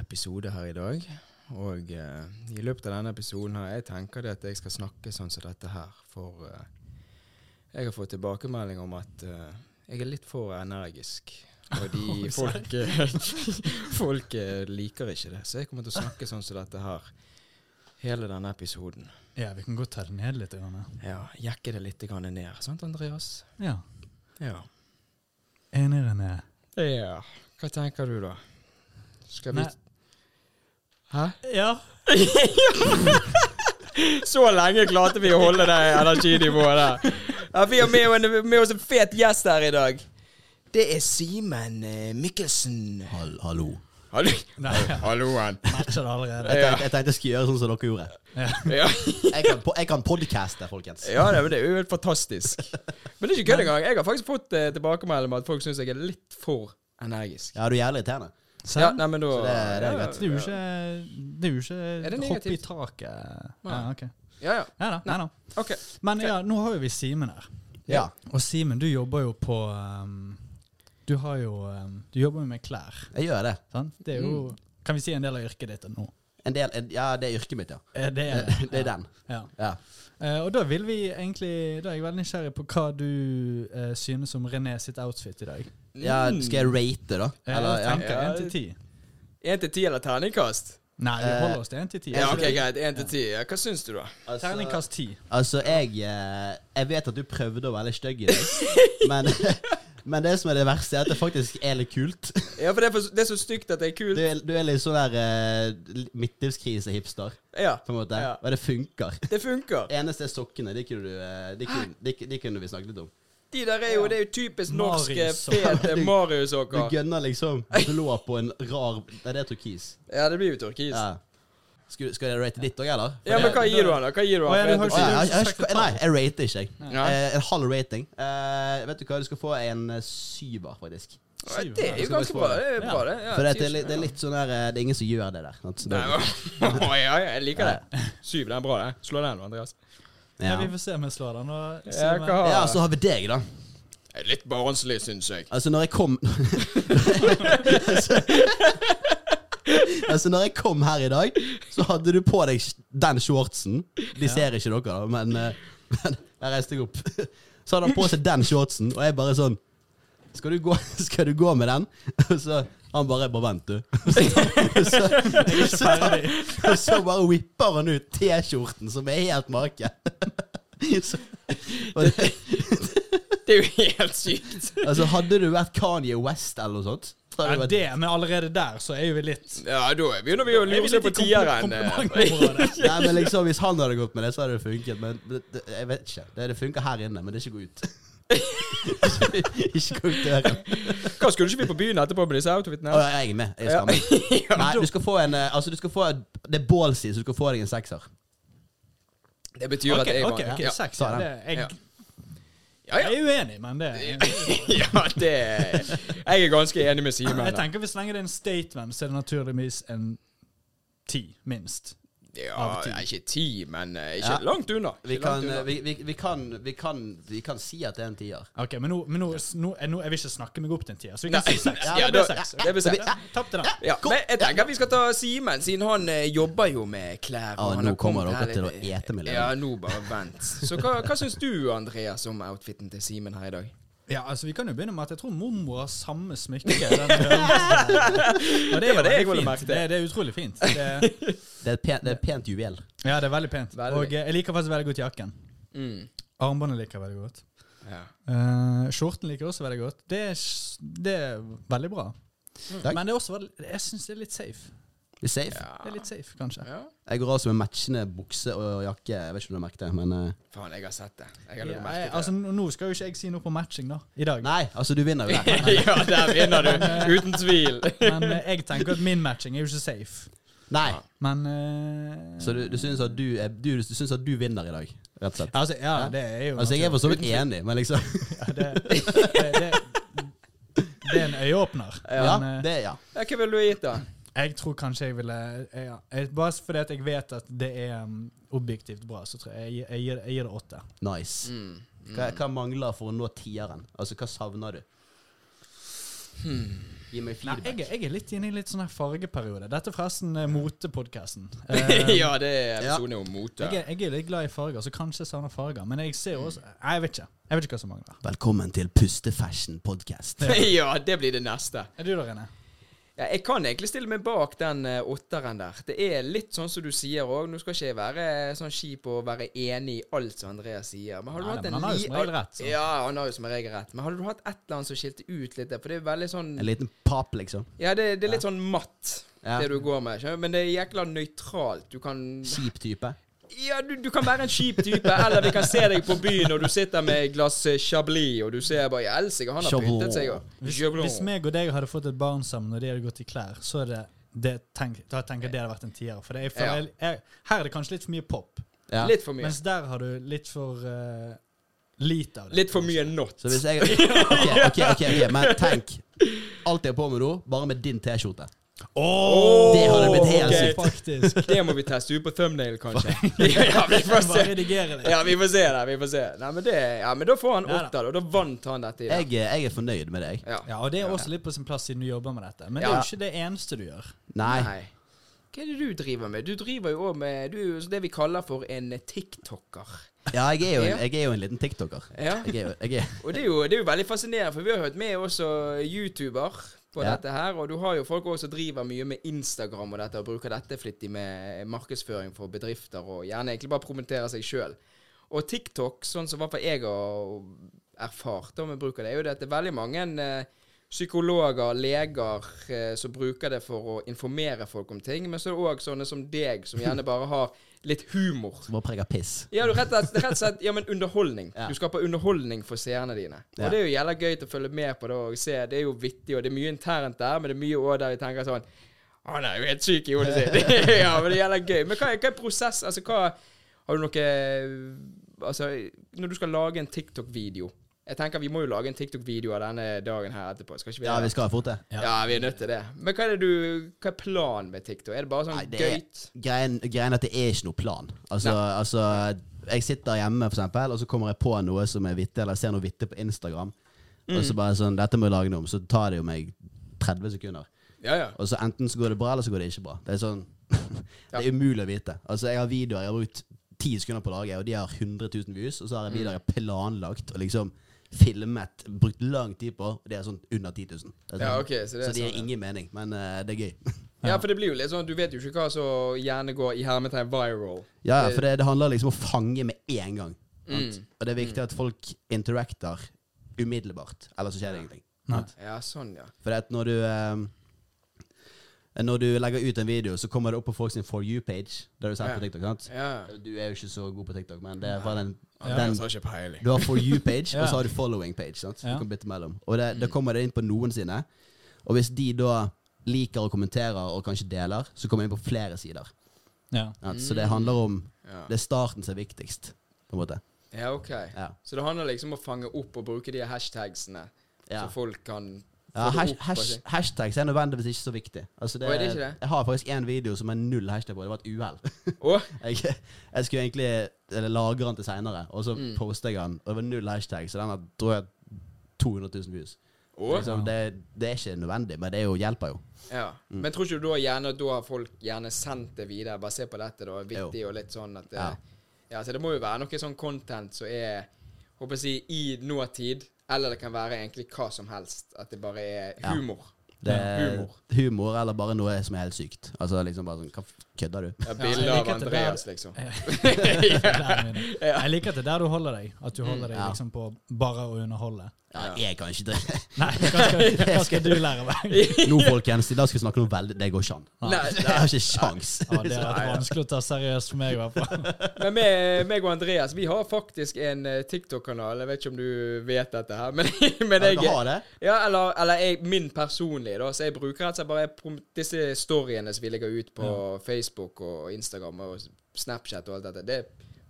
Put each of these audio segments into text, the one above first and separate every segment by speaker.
Speaker 1: episode her i dag. Og eh, i løpet av denne episoden her, jeg tenker det at jeg skal snakke sånn som dette her. For eh, jeg har fått tilbakemelding om at eh, jeg er litt for energisk. Og de
Speaker 2: Oi, serr.
Speaker 1: folk, eh, folk eh, liker ikke det. Så jeg kommer til å snakke sånn som dette her. Hele denne episoden.
Speaker 2: Ja, vi kan godt ta det ned litt. Ørne.
Speaker 1: Ja, jekke det litt grann ned. Sant, Andreas?
Speaker 2: Ja.
Speaker 1: Ja.
Speaker 2: Enig, René.
Speaker 1: ja. Hva tenker du, da? Skal vi
Speaker 2: Nei.
Speaker 1: Hæ?
Speaker 2: Ja.
Speaker 1: Så lenge klarte vi å holde det energinivået der. Ja, vi har med, en- med oss en fet gjest her i dag. Det er Simen eh, Mikkelsen.
Speaker 3: Hall, hallo.
Speaker 1: Hallo.
Speaker 2: Nei, jeg
Speaker 1: Halloen.
Speaker 2: matcher det allerede.
Speaker 3: Jeg tenkte, jeg tenkte jeg skulle gjøre sånn som dere gjorde.
Speaker 1: Ja.
Speaker 3: Jeg kan, po- jeg kan podcaste, folkens.
Speaker 1: ja, nei, men det er jo helt fantastisk. Men det er ikke kødd engang. Jeg har faktisk fått eh, tilbakemelding om at folk syns jeg er litt for energisk.
Speaker 3: Ja, du er jævlig irriterende.
Speaker 2: Sånn.
Speaker 1: Ja, nei, men da
Speaker 3: Så det er- det er greit.
Speaker 2: Det er jo ikke, det er jo ikke
Speaker 1: Er det
Speaker 2: hopp i
Speaker 1: negativt?
Speaker 2: taket.
Speaker 1: Nei.
Speaker 2: Ja, ok.
Speaker 1: Ja, ja.
Speaker 2: Ja da, nei da.
Speaker 1: OK.
Speaker 2: Men ja, nå har jo vi Simen her.
Speaker 3: Ja.
Speaker 2: Og Simen, du jobber jo på um, Du har jo um, Du jobber jo med klær,
Speaker 3: Jeg gjør det.
Speaker 2: sant? Det er jo Kan vi si en del av yrket ditt nå?
Speaker 3: En del, en, ja, det er yrket mitt, ja.
Speaker 2: Eh, Det er det.
Speaker 3: Det er den.
Speaker 2: Ja.
Speaker 3: Ja.
Speaker 2: Eh, og da vil vi egentlig Da er jeg veldig nysgjerrig på hva du eh, synes om René sitt outfit i dag.
Speaker 3: ja skal jeg rate, da?
Speaker 2: Eh,
Speaker 3: Eller, Mm. ja.
Speaker 2: jeg tenker
Speaker 1: Ja.
Speaker 2: én til ti.
Speaker 1: Én til ti eller terningkast?
Speaker 2: Nei, vi
Speaker 3: Eh,
Speaker 2: holder oss til én til ti. Altså,
Speaker 1: Ja, ok, greit. Én til ti. Ja, hva syns du, da?
Speaker 3: Altså,
Speaker 2: Terningkast ti.
Speaker 3: altså jeg, eh, jeg vet at du prøvde å være litt stygg i dag, men, men det som er det verste, er at det faktisk er litt kult.
Speaker 1: Ja, for det er, for, det er så stygt at det er
Speaker 3: Du
Speaker 1: kult.
Speaker 3: er, du er litt sånn der uh, midtlivskrise-hipster,
Speaker 1: Ja,
Speaker 3: på en måte.
Speaker 1: Ja.
Speaker 3: Og det funker.
Speaker 1: det funker.
Speaker 3: Det eneste er sokkene. De kunne, du, eh, de kunne, de, de kunne vi snakket om.
Speaker 1: De der er jo, det er jo typisk norske,
Speaker 2: Marius-sokker.
Speaker 1: fete
Speaker 3: Du
Speaker 1: Marius-sokker.
Speaker 3: gønner liksom blå på en rar Nei, det er turkis.
Speaker 1: Ja, det blir jo turkis.
Speaker 3: Ja. Skal, skal jeg rate ditt òg, eller?
Speaker 1: Ja, men hva gir du han da? Hva gir du
Speaker 2: Å, ja,
Speaker 1: han?
Speaker 2: du
Speaker 1: for
Speaker 2: har
Speaker 1: en
Speaker 3: Å,
Speaker 1: turkis?
Speaker 2: ikke-
Speaker 3: jeg, jeg, jeg, jeg, nei, jeg rater ikke, jeg.
Speaker 1: Ja.
Speaker 3: Eh, en halv rating. Eh, vet du hva, du skal få en eh, syver, faktisk.
Speaker 1: Ja, Det er jo
Speaker 3: Skal vi
Speaker 1: ganske
Speaker 3: svare?
Speaker 1: bra. Det er bra, det. Ja,
Speaker 3: For det, er- det, er
Speaker 1: syv.
Speaker 3: litt- det er litt sånn der eh, Det er ingen som gjør det der. sant? Så
Speaker 1: Nei,
Speaker 3: da-
Speaker 1: men- Å, ja, ja, jeg liker det. Syv, det er bra, det. Slå den, Andreas.
Speaker 2: Ja.
Speaker 3: ja.
Speaker 2: vi får se om jeg slår den. Og
Speaker 1: Ja,
Speaker 2: Simen-
Speaker 1: hva har
Speaker 3: ja, så har vi deg, da.
Speaker 1: Litt barnslig, syns jeg.
Speaker 3: Altså, når jeg kom Altså, når jeg kom her i dag, så hadde du på deg den shortsen. De ser ikke dere, da, men, eh, men jeg reiste meg opp. Så hadde han på seg den shortsen, og jeg bare sånn skal du, gå, skal du gå med den? Og så han bare Bare vent, du. Og Så, og så, og så, og så bare whipper han ut T-skjorten, som er helt make. Så- Og det,
Speaker 1: Det er jo helt sykt.
Speaker 3: Altså, hadde du vært Kanye West eller noe sånt så hadde
Speaker 2: Ja,
Speaker 3: du vært,
Speaker 2: det, men allerede der så er jo vi litt
Speaker 1: Ja, da begynner vi å
Speaker 2: er vi
Speaker 1: lure
Speaker 2: litt
Speaker 1: seg
Speaker 2: i
Speaker 1: på
Speaker 2: kompli-
Speaker 1: tieren. eh.
Speaker 2: komplimentområdet.
Speaker 3: Nei, men liksom, Hvis han hadde gått med det, så hadde det funket. Men det, det, jeg vet ikke. Det, det funker her inne, men det er ikke gå ut. ikke, ikke gå ut døren.
Speaker 1: Hva, skulle ikke vi på byen etterpå med disse
Speaker 3: Å,
Speaker 1: outfitene?
Speaker 3: jeg er med. Jeg skal med. Nei, du skal få en eh, Altså, du skal få en, Det er ballsy, så du skal få deg en sekser.
Speaker 1: Det betyr
Speaker 2: Ok,
Speaker 1: at jeg
Speaker 2: ok,
Speaker 1: vant.
Speaker 2: ok,
Speaker 1: Ja.
Speaker 2: seks.
Speaker 3: ta
Speaker 2: Ja,
Speaker 3: den.
Speaker 2: det, jeg,
Speaker 1: Ja, ja.
Speaker 2: jeg er uenig, men det
Speaker 1: Ja, det Jeg er ganske enig med Simen.
Speaker 2: Jeg
Speaker 1: da.
Speaker 2: tenker hvis lenge det er en statement, så er det naturligvis en ti, minst.
Speaker 1: Ja,
Speaker 2: av ti.
Speaker 1: ikke ti, men eh, ikke
Speaker 3: Ja.
Speaker 1: langt unna.
Speaker 3: Vi
Speaker 1: Ikke
Speaker 3: kan,
Speaker 1: langt
Speaker 3: eh,
Speaker 1: unna.
Speaker 3: vi, vi, vi, kan, vi, kan, vi kan si at det er en tier.
Speaker 2: Ok, Men nå, men nå, nå, jeg, nå jeg vil ikke snakke meg opp til en tier, så vi kan
Speaker 1: Nei.
Speaker 2: si seks.
Speaker 1: Ja,
Speaker 2: Ja, det blir
Speaker 1: da-
Speaker 2: seks.
Speaker 1: ja, det blir seks.
Speaker 2: Ja, Tapp til den.
Speaker 1: Ja, men jeg tenker vi skal ta Simen, siden han eh, jobber jo med klær.
Speaker 3: Ja,
Speaker 1: han
Speaker 3: nå
Speaker 1: har
Speaker 3: kommer
Speaker 1: kommet
Speaker 3: dere
Speaker 1: her
Speaker 3: til
Speaker 1: litt-
Speaker 3: å ete meg litt.
Speaker 1: Ja, nå bare vent. Så hva, hva syns du, Andreas, om outfiten til Simen her i dag?
Speaker 2: Ja, altså Vi kan jo begynne med at jeg tror mormor har samme smykke. Den høyeste. Og det, er
Speaker 1: var
Speaker 2: jo
Speaker 1: det jeg
Speaker 2: veldig
Speaker 1: ville
Speaker 2: fint.
Speaker 1: merke.
Speaker 2: Det, det er utrolig fint. Det,
Speaker 3: Det er et pent, det er et pent juvel.
Speaker 2: ja, det er veldig pent.
Speaker 1: Veldig.
Speaker 2: Og eh, jeg liker faktisk veldig godt jakken.
Speaker 1: Mm.
Speaker 2: Armbåndet liker jeg veldig godt.
Speaker 1: Ja.
Speaker 2: Eh, skjorten liker jeg også veldig godt. Det er, s- det er veldig bra.
Speaker 3: Takk.
Speaker 2: Men det er også veldig, jeg syns det er litt safe.
Speaker 3: Vi er safe.
Speaker 1: Ja.
Speaker 2: Det er litt safe, kanskje.
Speaker 1: ja.
Speaker 3: Jeg går altså med matchende bukse og jakke. Jeg vet ikke om du har merket det, men eh,
Speaker 1: Faen, jeg har sett det. Jeg
Speaker 2: Ja,
Speaker 1: har lagt merke
Speaker 2: jeg,
Speaker 1: til
Speaker 2: altså, nå nå skal jo ikke jeg si noe på matching da, i dag.
Speaker 3: Nei, altså, du vinner jo der.
Speaker 1: det. ja, der vinner du. Uten tvil.
Speaker 2: Men eh, jeg tenker at min matching er jo ikke safe.
Speaker 3: Nei.
Speaker 2: Men eh,
Speaker 3: Så du, du, syns at du, er- du, du syns at du vinner i dag, rett og slett?
Speaker 2: altså, Ja, det er jo
Speaker 3: Altså, jeg er for så vidt enig, men liksom
Speaker 2: Ja, det, det, det, det er en øyeåpner.
Speaker 3: Ja,
Speaker 2: Men, eh,
Speaker 3: det ja.
Speaker 1: Ja, hva ville du gitt, da?
Speaker 2: jeg tror kanskje jeg ville ja, jeg, Bare fordi at jeg vet at det er um, objektivt bra, så tror jeg jeg, jeg, gir, jeg gir det åtte.
Speaker 3: Nice.
Speaker 1: Mm.
Speaker 3: Hva, hva mangler for å nå tieren? Altså, hva savner du? Gi meg
Speaker 2: Nei,
Speaker 3: feedback.
Speaker 2: jeg, er- jeg er litt inne i litt sånn her fargeperiode. Dette er forresten eh, motepodkasten. Eh,
Speaker 1: mm. ja, det er episode om mote.
Speaker 2: jeg, er- jeg er litt glad i farger, så kanskje jeg savner farger. Men jeg ser også Nei, jeg vet ikke. Jeg vet ikke hva som mangler.
Speaker 3: Velkommen til Pustefashion podcast.
Speaker 1: ja, det blir det neste.
Speaker 2: Er du der, Rene?
Speaker 1: Ja, jeg kan egentlig stille meg bak den eh, åtteren der. Det er litt sånn som du sier òg. Nå skal ikke jeg være sånn kjip og være enig i alt som Andreas sier. Men har du
Speaker 2: Nei,
Speaker 1: hatt
Speaker 2: men
Speaker 1: en
Speaker 2: han har jo
Speaker 1: li-
Speaker 2: som regel rett, så.
Speaker 1: Ja, han har jo som regel rett. Men hadde du hatt et eller annet som skilte ut litt der? For det er veldig sånn
Speaker 3: En liten pap, liksom.
Speaker 1: Ja, det, det er litt sånn matt,
Speaker 3: Ja.
Speaker 1: det du går med. skjønner du? Men det er jækla nøytralt. Du kan
Speaker 3: Kjip type.
Speaker 1: Ja, du, du kan være en kjip type, eller vi kan se deg på byen, og du sitter med et glass eh, Chablis, og du ser bare Helsike, han har
Speaker 3: Chablis.
Speaker 1: pyntet seg. og-
Speaker 2: Hvis,
Speaker 1: Chablis.
Speaker 2: hvis meg og deg hadde fått et barn sammen, og de hadde gått i klær, så er det, det tenk, da tenker jeg det hadde vært en tier. For det er, for, jeg, jeg, her er det kanskje litt for mye pop,
Speaker 3: Ja.
Speaker 1: Litt for mye.
Speaker 2: mens der har du litt for eh, lite av det.
Speaker 1: Litt for mye not.
Speaker 3: Så hvis jeg Ok, ok, ok, ok, men tenk. Alt jeg har på meg nå, bare med din T-skjorte. Det hadde blitt helt
Speaker 1: ok.
Speaker 3: sykt.
Speaker 2: Faktisk.
Speaker 1: Det må vi teste ut på thumbnail, kanskje. ja, vi får
Speaker 2: Bare
Speaker 1: se.
Speaker 2: redigere det.
Speaker 1: Ja, vi får se det. vi får se. Nei, men, det, ja, men da får han
Speaker 2: Neida.
Speaker 1: åtter, og da vant han dette i dag.
Speaker 3: Jeg, eh, jeg er fornøyd med deg.
Speaker 1: Ja.
Speaker 2: Ja, og det er også litt på sin plass siden du jobber med dette. Men det er
Speaker 1: Ja.
Speaker 2: jo ikke det eneste du gjør.
Speaker 3: Nei.
Speaker 1: Nei. Hva er det du driver med? Du driver jo òg med Du er jo det vi kaller for en tiktoker.
Speaker 3: Ja, jeg er jo en, jeg er jo en liten tiktoker.
Speaker 1: Ja.
Speaker 3: Jeg er jo, jeg er,
Speaker 1: Og det er, jo, det er jo veldig fascinerende, for vi har hørt med også YouTuber på
Speaker 3: Ja.
Speaker 1: dette her. Og du har jo folk også som driver mye med Instagram og dette, og bruker dette flittig med markedsføring for bedrifter, og gjerne egentlig bare promoterer seg sjøl. Og TikTok, sånn som i hvert fall jeg har erfart da med bruk av det, er jo det at det er veldig mange eh, psykologer, leger, eh, som bruker det for å informere folk om ting. Men så er det òg sånne som deg, som gjerne bare har litt humor.
Speaker 3: som bare preger piss.
Speaker 1: Ja, du, rett, og slett- rett og slett ja, men underholdning.
Speaker 3: Ja.
Speaker 1: Du skaper underholdning for seerne dine.
Speaker 3: Ja.
Speaker 1: Og det er jo jævla gøy til å følge med på det og se. Det er jo vittig, og det er mye internt der, men det er mye òg der vi tenker sånn Han er jo helt syk i hodet sitt! ja, men det er jævla gøy. Men hva, er- hva er prosess? Altså, hva Har du noe Altså, når du skal lage en TikTok-video Jeg tenker vi må jo lage en TikTok-video av denne dagen her etterpå. Skal ikke vi
Speaker 3: Ja, vi skal fort det.
Speaker 1: ja. vi er nødt til det. Men hva er det du Hva er planen med TikTok? Er det bare sånn
Speaker 3: Nei, det er,
Speaker 1: gøyt?
Speaker 3: greien, greien er at det er ikke noe plan. Altså, altså jeg sitter hjemme, for eksempel, og så kommer jeg på noe som er vittig, eller jeg ser noe vittig på Instagram, og
Speaker 1: Mm.
Speaker 3: så bare sånn Dette må jeg lage noe om. Så tar det jo meg 30 sekunder.
Speaker 1: Ja, ja.
Speaker 3: Og så enten så går det bra, eller så går det ikke bra. Det er sånn Det er umulig å vite. Altså, jeg har videoer jeg har brukt ti sekunder på å lage, og de har 100 000 views, og så har
Speaker 1: Mm.
Speaker 3: jeg videoer jeg har planlagt og liksom filmet, brukt lang tid på, og det er sånn under 10 000. Det er
Speaker 1: Ja,
Speaker 3: sånn-
Speaker 1: ok, så det er
Speaker 3: gir
Speaker 1: sånn, ja.
Speaker 3: ingen mening, men eh, det er gøy.
Speaker 1: Ja, for det blir jo litt sånn Du vet jo ikke hva som gjerne går i hermetegn viral.
Speaker 3: Ja, ja, for det, det handler liksom om å fange med en gang. sant?
Speaker 1: Mm.
Speaker 3: Og det er viktig at folk interacter umiddelbart, ellers så skjer det ingenting.
Speaker 2: Nei.
Speaker 1: Ja, sånn, ja.
Speaker 3: For at når du eh, Når du legger ut en video, så kommer det opp på folk sin For you-page. Det har du sett
Speaker 1: Ja.
Speaker 3: på TikTok, sant?
Speaker 1: ja.
Speaker 3: Du er jo ikke så god på TikTok, men det er bare den, den
Speaker 1: Andreas har ikke peiling.
Speaker 3: Du har For you-page,
Speaker 2: Ja.
Speaker 3: og så har du following-page. sant?
Speaker 2: Ja.
Speaker 3: Du kan bytte mellom. Og det,
Speaker 1: Mm.
Speaker 3: da kommer det inn på noen sine. Og hvis de da liker og kommenterer og kanskje deler, så kommer det inn på flere sider.
Speaker 2: Ja.
Speaker 3: sant? Så
Speaker 1: Mm.
Speaker 3: det handler om
Speaker 1: Ja.
Speaker 3: Det er starten som er viktigst, på en måte.
Speaker 1: ja, ok.
Speaker 3: Ja.
Speaker 1: Så det handler liksom om å fange opp og bruke de hashtagsene,
Speaker 3: Ja.
Speaker 1: så folk kan få
Speaker 3: Ja,
Speaker 1: det
Speaker 3: hash,
Speaker 1: opp og
Speaker 3: hash,
Speaker 1: se.
Speaker 3: hashtags er nødvendigvis ikke så viktig. Altså
Speaker 1: Å, er det ikke det?
Speaker 3: Jeg har faktisk én video som er null hashtag på. Det var et uhell.
Speaker 1: Å,
Speaker 3: Jeg, jeg skulle egentlig eller, lagre den til seinere, og så
Speaker 1: Mm.
Speaker 3: postet jeg den. Og det var null hashtag, så den har tror jeg 200 000 views.
Speaker 1: å,
Speaker 3: Liksom, det, det er ikke nødvendig, men det er jo, hjelper jo.
Speaker 1: ja.
Speaker 3: Mm.
Speaker 1: Men tror ikke du da gjerne da har folk gjerne sendt det videre? Bare se på dette, da. Vittig og litt sånn at det,
Speaker 3: Ja.
Speaker 1: Ja, så det må jo være noe sånn content som er Håper jeg å si i nåtid, eller det kan være egentlig hva som helst. At det bare er
Speaker 3: Ja.
Speaker 1: humor.
Speaker 3: Det er
Speaker 1: Humor.
Speaker 3: humor eller bare noe som er helt sykt. Altså liksom bare sånn Hva f- kødder du?
Speaker 1: Ja,
Speaker 2: jeg
Speaker 1: Bilder
Speaker 2: liker
Speaker 1: av
Speaker 2: at det der-
Speaker 1: Andreas, liksom.
Speaker 2: Der er vi. Jeg liker at det er der du holder deg. At du holder
Speaker 1: Mm.
Speaker 2: deg
Speaker 3: Ja.
Speaker 2: liksom på bare å underholde.
Speaker 3: Ja, jeg kan ikke det.
Speaker 2: Nei, hva skal, hva skal du lære meg?
Speaker 3: Nå, folkens, i dag skal vi snakke noe veldig Det går ikke an.
Speaker 1: Nei,
Speaker 3: Jeg har ikke sjans.
Speaker 2: Ja, det har vært vanskelig å ta seriøst for meg, i hvert fall.
Speaker 1: Men meg, meg og Andreas, vi har faktisk en eh, TikTok-kanal. Jeg vet ikke om du vet dette her, men, men
Speaker 3: Ja,
Speaker 1: jeg
Speaker 3: du har det?
Speaker 1: Ja, eller, eller jeg, min personlige, da. Så jeg bruker rett og slett bare prom- disse storyene som vi legger ut på Facebook og Instagram og Snapchat og alt dette. Det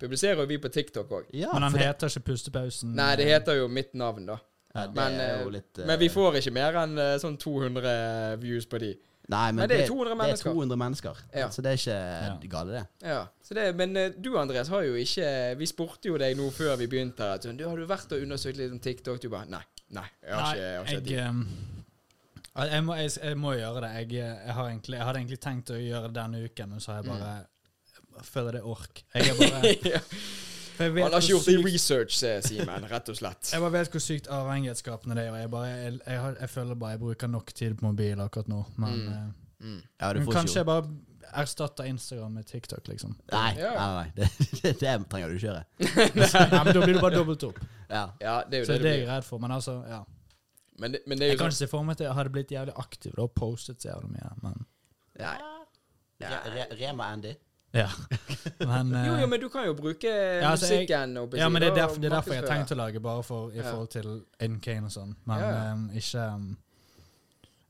Speaker 1: publiserer jo vi på TikTok òg.
Speaker 3: Ja,
Speaker 2: Men han
Speaker 3: for det-
Speaker 2: heter ikke Pustepausen.
Speaker 1: Nei, det heter jo mitt navn, da.
Speaker 3: Ja, det
Speaker 1: Men,
Speaker 3: er jo
Speaker 1: eh,
Speaker 3: litt, eh,
Speaker 1: men vi får ikke mer enn eh, sånn 200 views på de.
Speaker 3: Nei, men,
Speaker 1: Men det er 200
Speaker 3: det er
Speaker 1: mennesker.
Speaker 3: 200 mennesker.
Speaker 1: Ja.
Speaker 3: Så det er ikke gale, det.
Speaker 1: Ja, så det, Men eh, du Andreas har jo ikke Vi spurte jo deg nå før vi begynte. her, At, sånn, du, har du vært og undersøkt litt om TikTok? Du bare nei. Nei, jeg har
Speaker 2: Nei,
Speaker 1: ikke, jeg har ikke
Speaker 2: jeg,
Speaker 1: tid.
Speaker 2: ehm, Ja, Jeg må, jeg, jeg må gjøre det. Jeg, eh, jeg, har egentlig, jeg hadde egentlig tenkt å gjøre det denne uken, men så har jeg
Speaker 1: Mm.
Speaker 2: bare jeg føler det er ork. Jeg er bare,
Speaker 1: Ja.
Speaker 2: for jeg vet
Speaker 1: Han har ikke
Speaker 2: hvor
Speaker 1: gjort det i
Speaker 2: sykt-
Speaker 1: research, sier Simen, rett og slett.
Speaker 2: Jeg bare vet hvor sykt avhengighetsskapende det er. og Jeg, bare, jeg, jeg, har- jeg føler bare jeg bruker nok tid på mobil akkurat nå. Men,
Speaker 1: Mm.
Speaker 2: eh,
Speaker 1: Mm.
Speaker 3: Ja, du
Speaker 2: men
Speaker 3: får ikke
Speaker 2: kanskje
Speaker 3: gjort
Speaker 2: jeg bare erstatter Instagram med TikTok, liksom.
Speaker 3: Nei, nei,
Speaker 1: Ja.
Speaker 3: nei. nei. Det, det, det trenger du ikke gjøre.
Speaker 2: Nei, men Da blir du bare dobbelt opp.
Speaker 3: Ja.
Speaker 1: Ja, det er jo
Speaker 2: Så
Speaker 1: det
Speaker 2: det er
Speaker 1: det
Speaker 2: det jeg
Speaker 1: blir.
Speaker 2: er redd for. Men altså, ja.
Speaker 1: Men det, men det er jo
Speaker 2: Jeg kan
Speaker 1: sånn
Speaker 2: ikke se for meg at jeg hadde blitt jævlig aktiv da, og postet så jævlig mye. Men
Speaker 1: Nei.
Speaker 3: Re- Re- Rema Andy.
Speaker 2: ja. Men, eh,
Speaker 1: Jo, jo, men du kan jo bruke eh,
Speaker 2: altså, jeg-
Speaker 1: musikken og
Speaker 2: ja, men det er
Speaker 1: beskrive
Speaker 2: derfor, det er derfor jeg har
Speaker 1: og
Speaker 2: tenkt å lage, bare for, i
Speaker 1: Ja.
Speaker 2: forhold til NK og sånn. Men
Speaker 1: Ja.
Speaker 2: eh, ikke eh,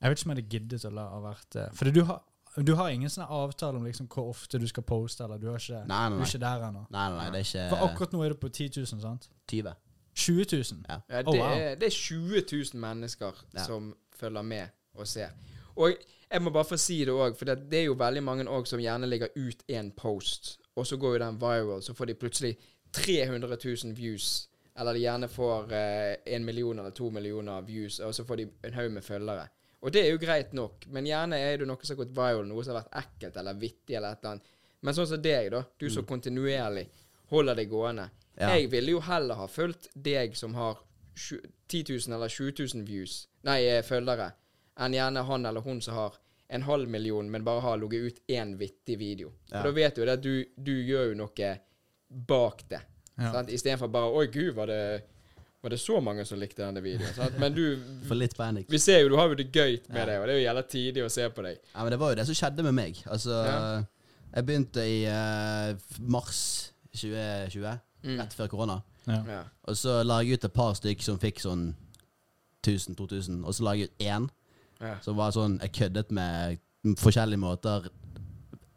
Speaker 2: Jeg vet ikke om jeg hadde giddet å la ha vært uh, Fordi du har, du har ingen sånn avtale om liksom hvor ofte du skal poste, eller du har ikke,
Speaker 3: Nei, nei,
Speaker 2: du er
Speaker 3: Eh. nei.
Speaker 2: ikke der ennå.
Speaker 3: Nei, nei, nei, det er
Speaker 2: For
Speaker 3: ikke
Speaker 2: akkurat nå er du på 10 000, sant?
Speaker 3: 20.
Speaker 2: 20 000.
Speaker 3: Ja.
Speaker 1: Ja, det,
Speaker 2: Oh, wow.
Speaker 1: er, det er 20 000 mennesker
Speaker 3: Ja.
Speaker 1: som følger med og ser. Og jeg må bare få si det òg, for det, det er jo veldig mange òg som gjerne legger ut en post, og så går jo den viral, så får de plutselig 300 000 views. Eller de gjerne får eh, en million eller to millioner views, og så får de en haug med følgere. Og det er jo greit nok, men gjerne er det noe som har gått viral, noe som har vært ekkelt eller vittig eller et eller annet. Men sånn som deg, da. Du som kontinuerlig holder det gående.
Speaker 3: Ja.
Speaker 1: Jeg ville jo heller ha fulgt deg som har sju- 10 000 eller 20 000 views, nei, eh, følgere, enn gjerne han eller hun som har en halv million, men bare har ligget ut én vittig video.
Speaker 3: Ja.
Speaker 1: For da vet du jo det at du, du gjør jo noe bak det.
Speaker 2: Ja.
Speaker 1: Sant? Istedenfor bare 'Oi, gud, var det, var det så mange som likte denne videoen?' Sant? Men du
Speaker 3: For litt panikk.
Speaker 1: vi ser jo, du har jo det gøy med det, og det er jo jævla tidlig å se på deg.
Speaker 3: Ja, men det var jo det som skjedde med meg. Altså,
Speaker 1: Ja.
Speaker 3: jeg begynte i eh, mars 2020,
Speaker 1: Mm.
Speaker 3: rett før korona.
Speaker 2: Ja.
Speaker 1: Ja.
Speaker 3: Og så la jeg ut et par stykk som fikk sånn 1000-2000, og så la jeg ut én
Speaker 1: Ja.
Speaker 3: som var sånn Jeg køddet med forskjellige måter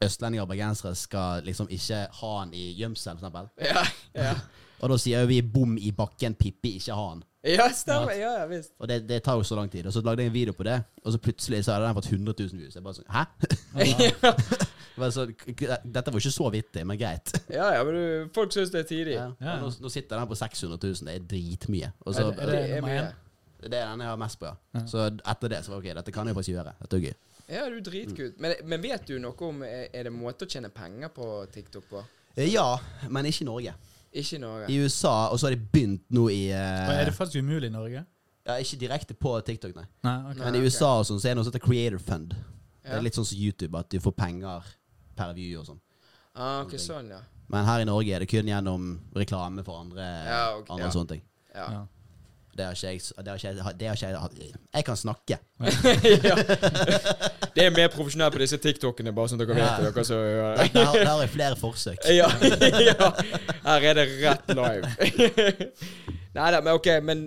Speaker 3: østlendinger og bergensere skal liksom ikke ha han i gjemsel, for eksempel.
Speaker 1: Ja, ja.
Speaker 3: Og da sier jo vi 'bom i bakken, Pippi, ikke ha han'.
Speaker 1: ja stemmer. Ja, ja visst.
Speaker 3: Og det, det tar jo så lang tid. Og så lagde jeg en video på det, og så plutselig så hadde den fått 100 000 views. Jeg bare sånn, Hæ? Det var sånn, k- k- dette var ikke så vittig, men greit.
Speaker 1: Ja, ja, men du, folk syns det er tidlig.
Speaker 3: Ja.
Speaker 2: Ja.
Speaker 3: Og Nå, nå sitter den på 600 000, det er dritmye. Og så,
Speaker 2: Er, det- er det
Speaker 1: Det er
Speaker 2: nummer
Speaker 1: mye.
Speaker 2: én?
Speaker 3: Det er den jeg har mest på, ja. Så etter det så var det ok, dette kan jeg faktisk gjøre. Dette er gøy.
Speaker 1: Ja, du er dritgutt. Men, men vet du noe om Er er det måte å tjene penger på TikTok på?
Speaker 3: Eh, Ja, men ikke i Norge.
Speaker 1: Ikke i Norge.
Speaker 3: I USA, og så har de begynt nå i
Speaker 2: Og
Speaker 3: eh,
Speaker 2: Er det faktisk umulig i Norge?
Speaker 3: Ja, ikke direkte på TikTok, nei.
Speaker 2: Nei, ok.
Speaker 1: Nei,
Speaker 3: Men i
Speaker 1: ok.
Speaker 3: USA og sånn, så er det noe som heter Creator Fund. Det
Speaker 1: Ja.
Speaker 3: er litt sånn som YouTube, at du får penger per view og sånn.
Speaker 1: Ah, ok, sånn, ja.
Speaker 3: Men her i Norge er det kun gjennom reklame for andre,
Speaker 1: Ja, ok,
Speaker 3: andre
Speaker 1: ja.
Speaker 3: sånne ting.
Speaker 1: Ja.
Speaker 2: Ja.
Speaker 3: Det har ikke jeg Det har ikke jeg, det har ikke jeg hatt- Jeg kan snakke.
Speaker 1: ja. Det er mer profesjonelt på disse TikTokene, bare sånn at dere vet det. Dere som
Speaker 3: Der, der, har- der har jeg flere forsøk.
Speaker 1: ja, ja. Her er det rett live. Nei da, men ok, men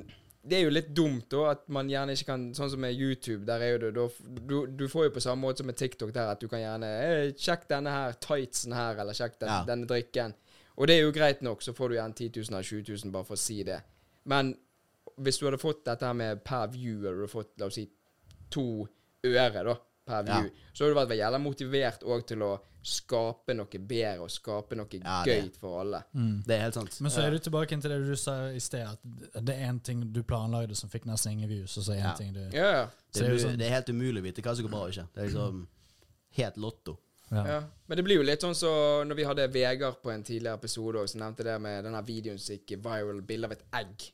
Speaker 1: det er jo litt dumt da at man gjerne ikke kan Sånn som med YouTube, der er jo det da f- du, du får jo på samme måte som med TikTok der at du kan gjerne eh, Sjekk denne her tightsen her, eller sjekk den,
Speaker 3: Ja.
Speaker 1: denne drikken. Og det er jo greit nok, så får du gjerne 10 000 eller 20 000 bare for å si det. Men hvis du hadde fått dette her med per view, hadde du fått la oss si to øre da, per
Speaker 3: Ja.
Speaker 1: view, så hadde du vært jævla motivert òg til å skape noe bedre og skape noe
Speaker 3: Ja,
Speaker 1: gøy
Speaker 3: det.
Speaker 1: for alle.
Speaker 3: Det er helt sant.
Speaker 2: Mm. Men så er du tilbake inn til det du sa i sted, at det er én ting du planlagde som fikk nesten ingen views, og så er det en
Speaker 3: Ja.
Speaker 2: ting du
Speaker 1: Ja, ja.
Speaker 3: Det
Speaker 2: Så er
Speaker 3: er,
Speaker 2: det
Speaker 3: mu-
Speaker 2: sånn-
Speaker 3: det er helt umulig å vite hva som går bra og ikke. Det er liksom helt lotto.
Speaker 1: ja. Men det blir jo litt sånn så når vi hadde Vegard på en tidligere episode også, så nevnte det med denne videoen som gikk viral, bilde av et egg.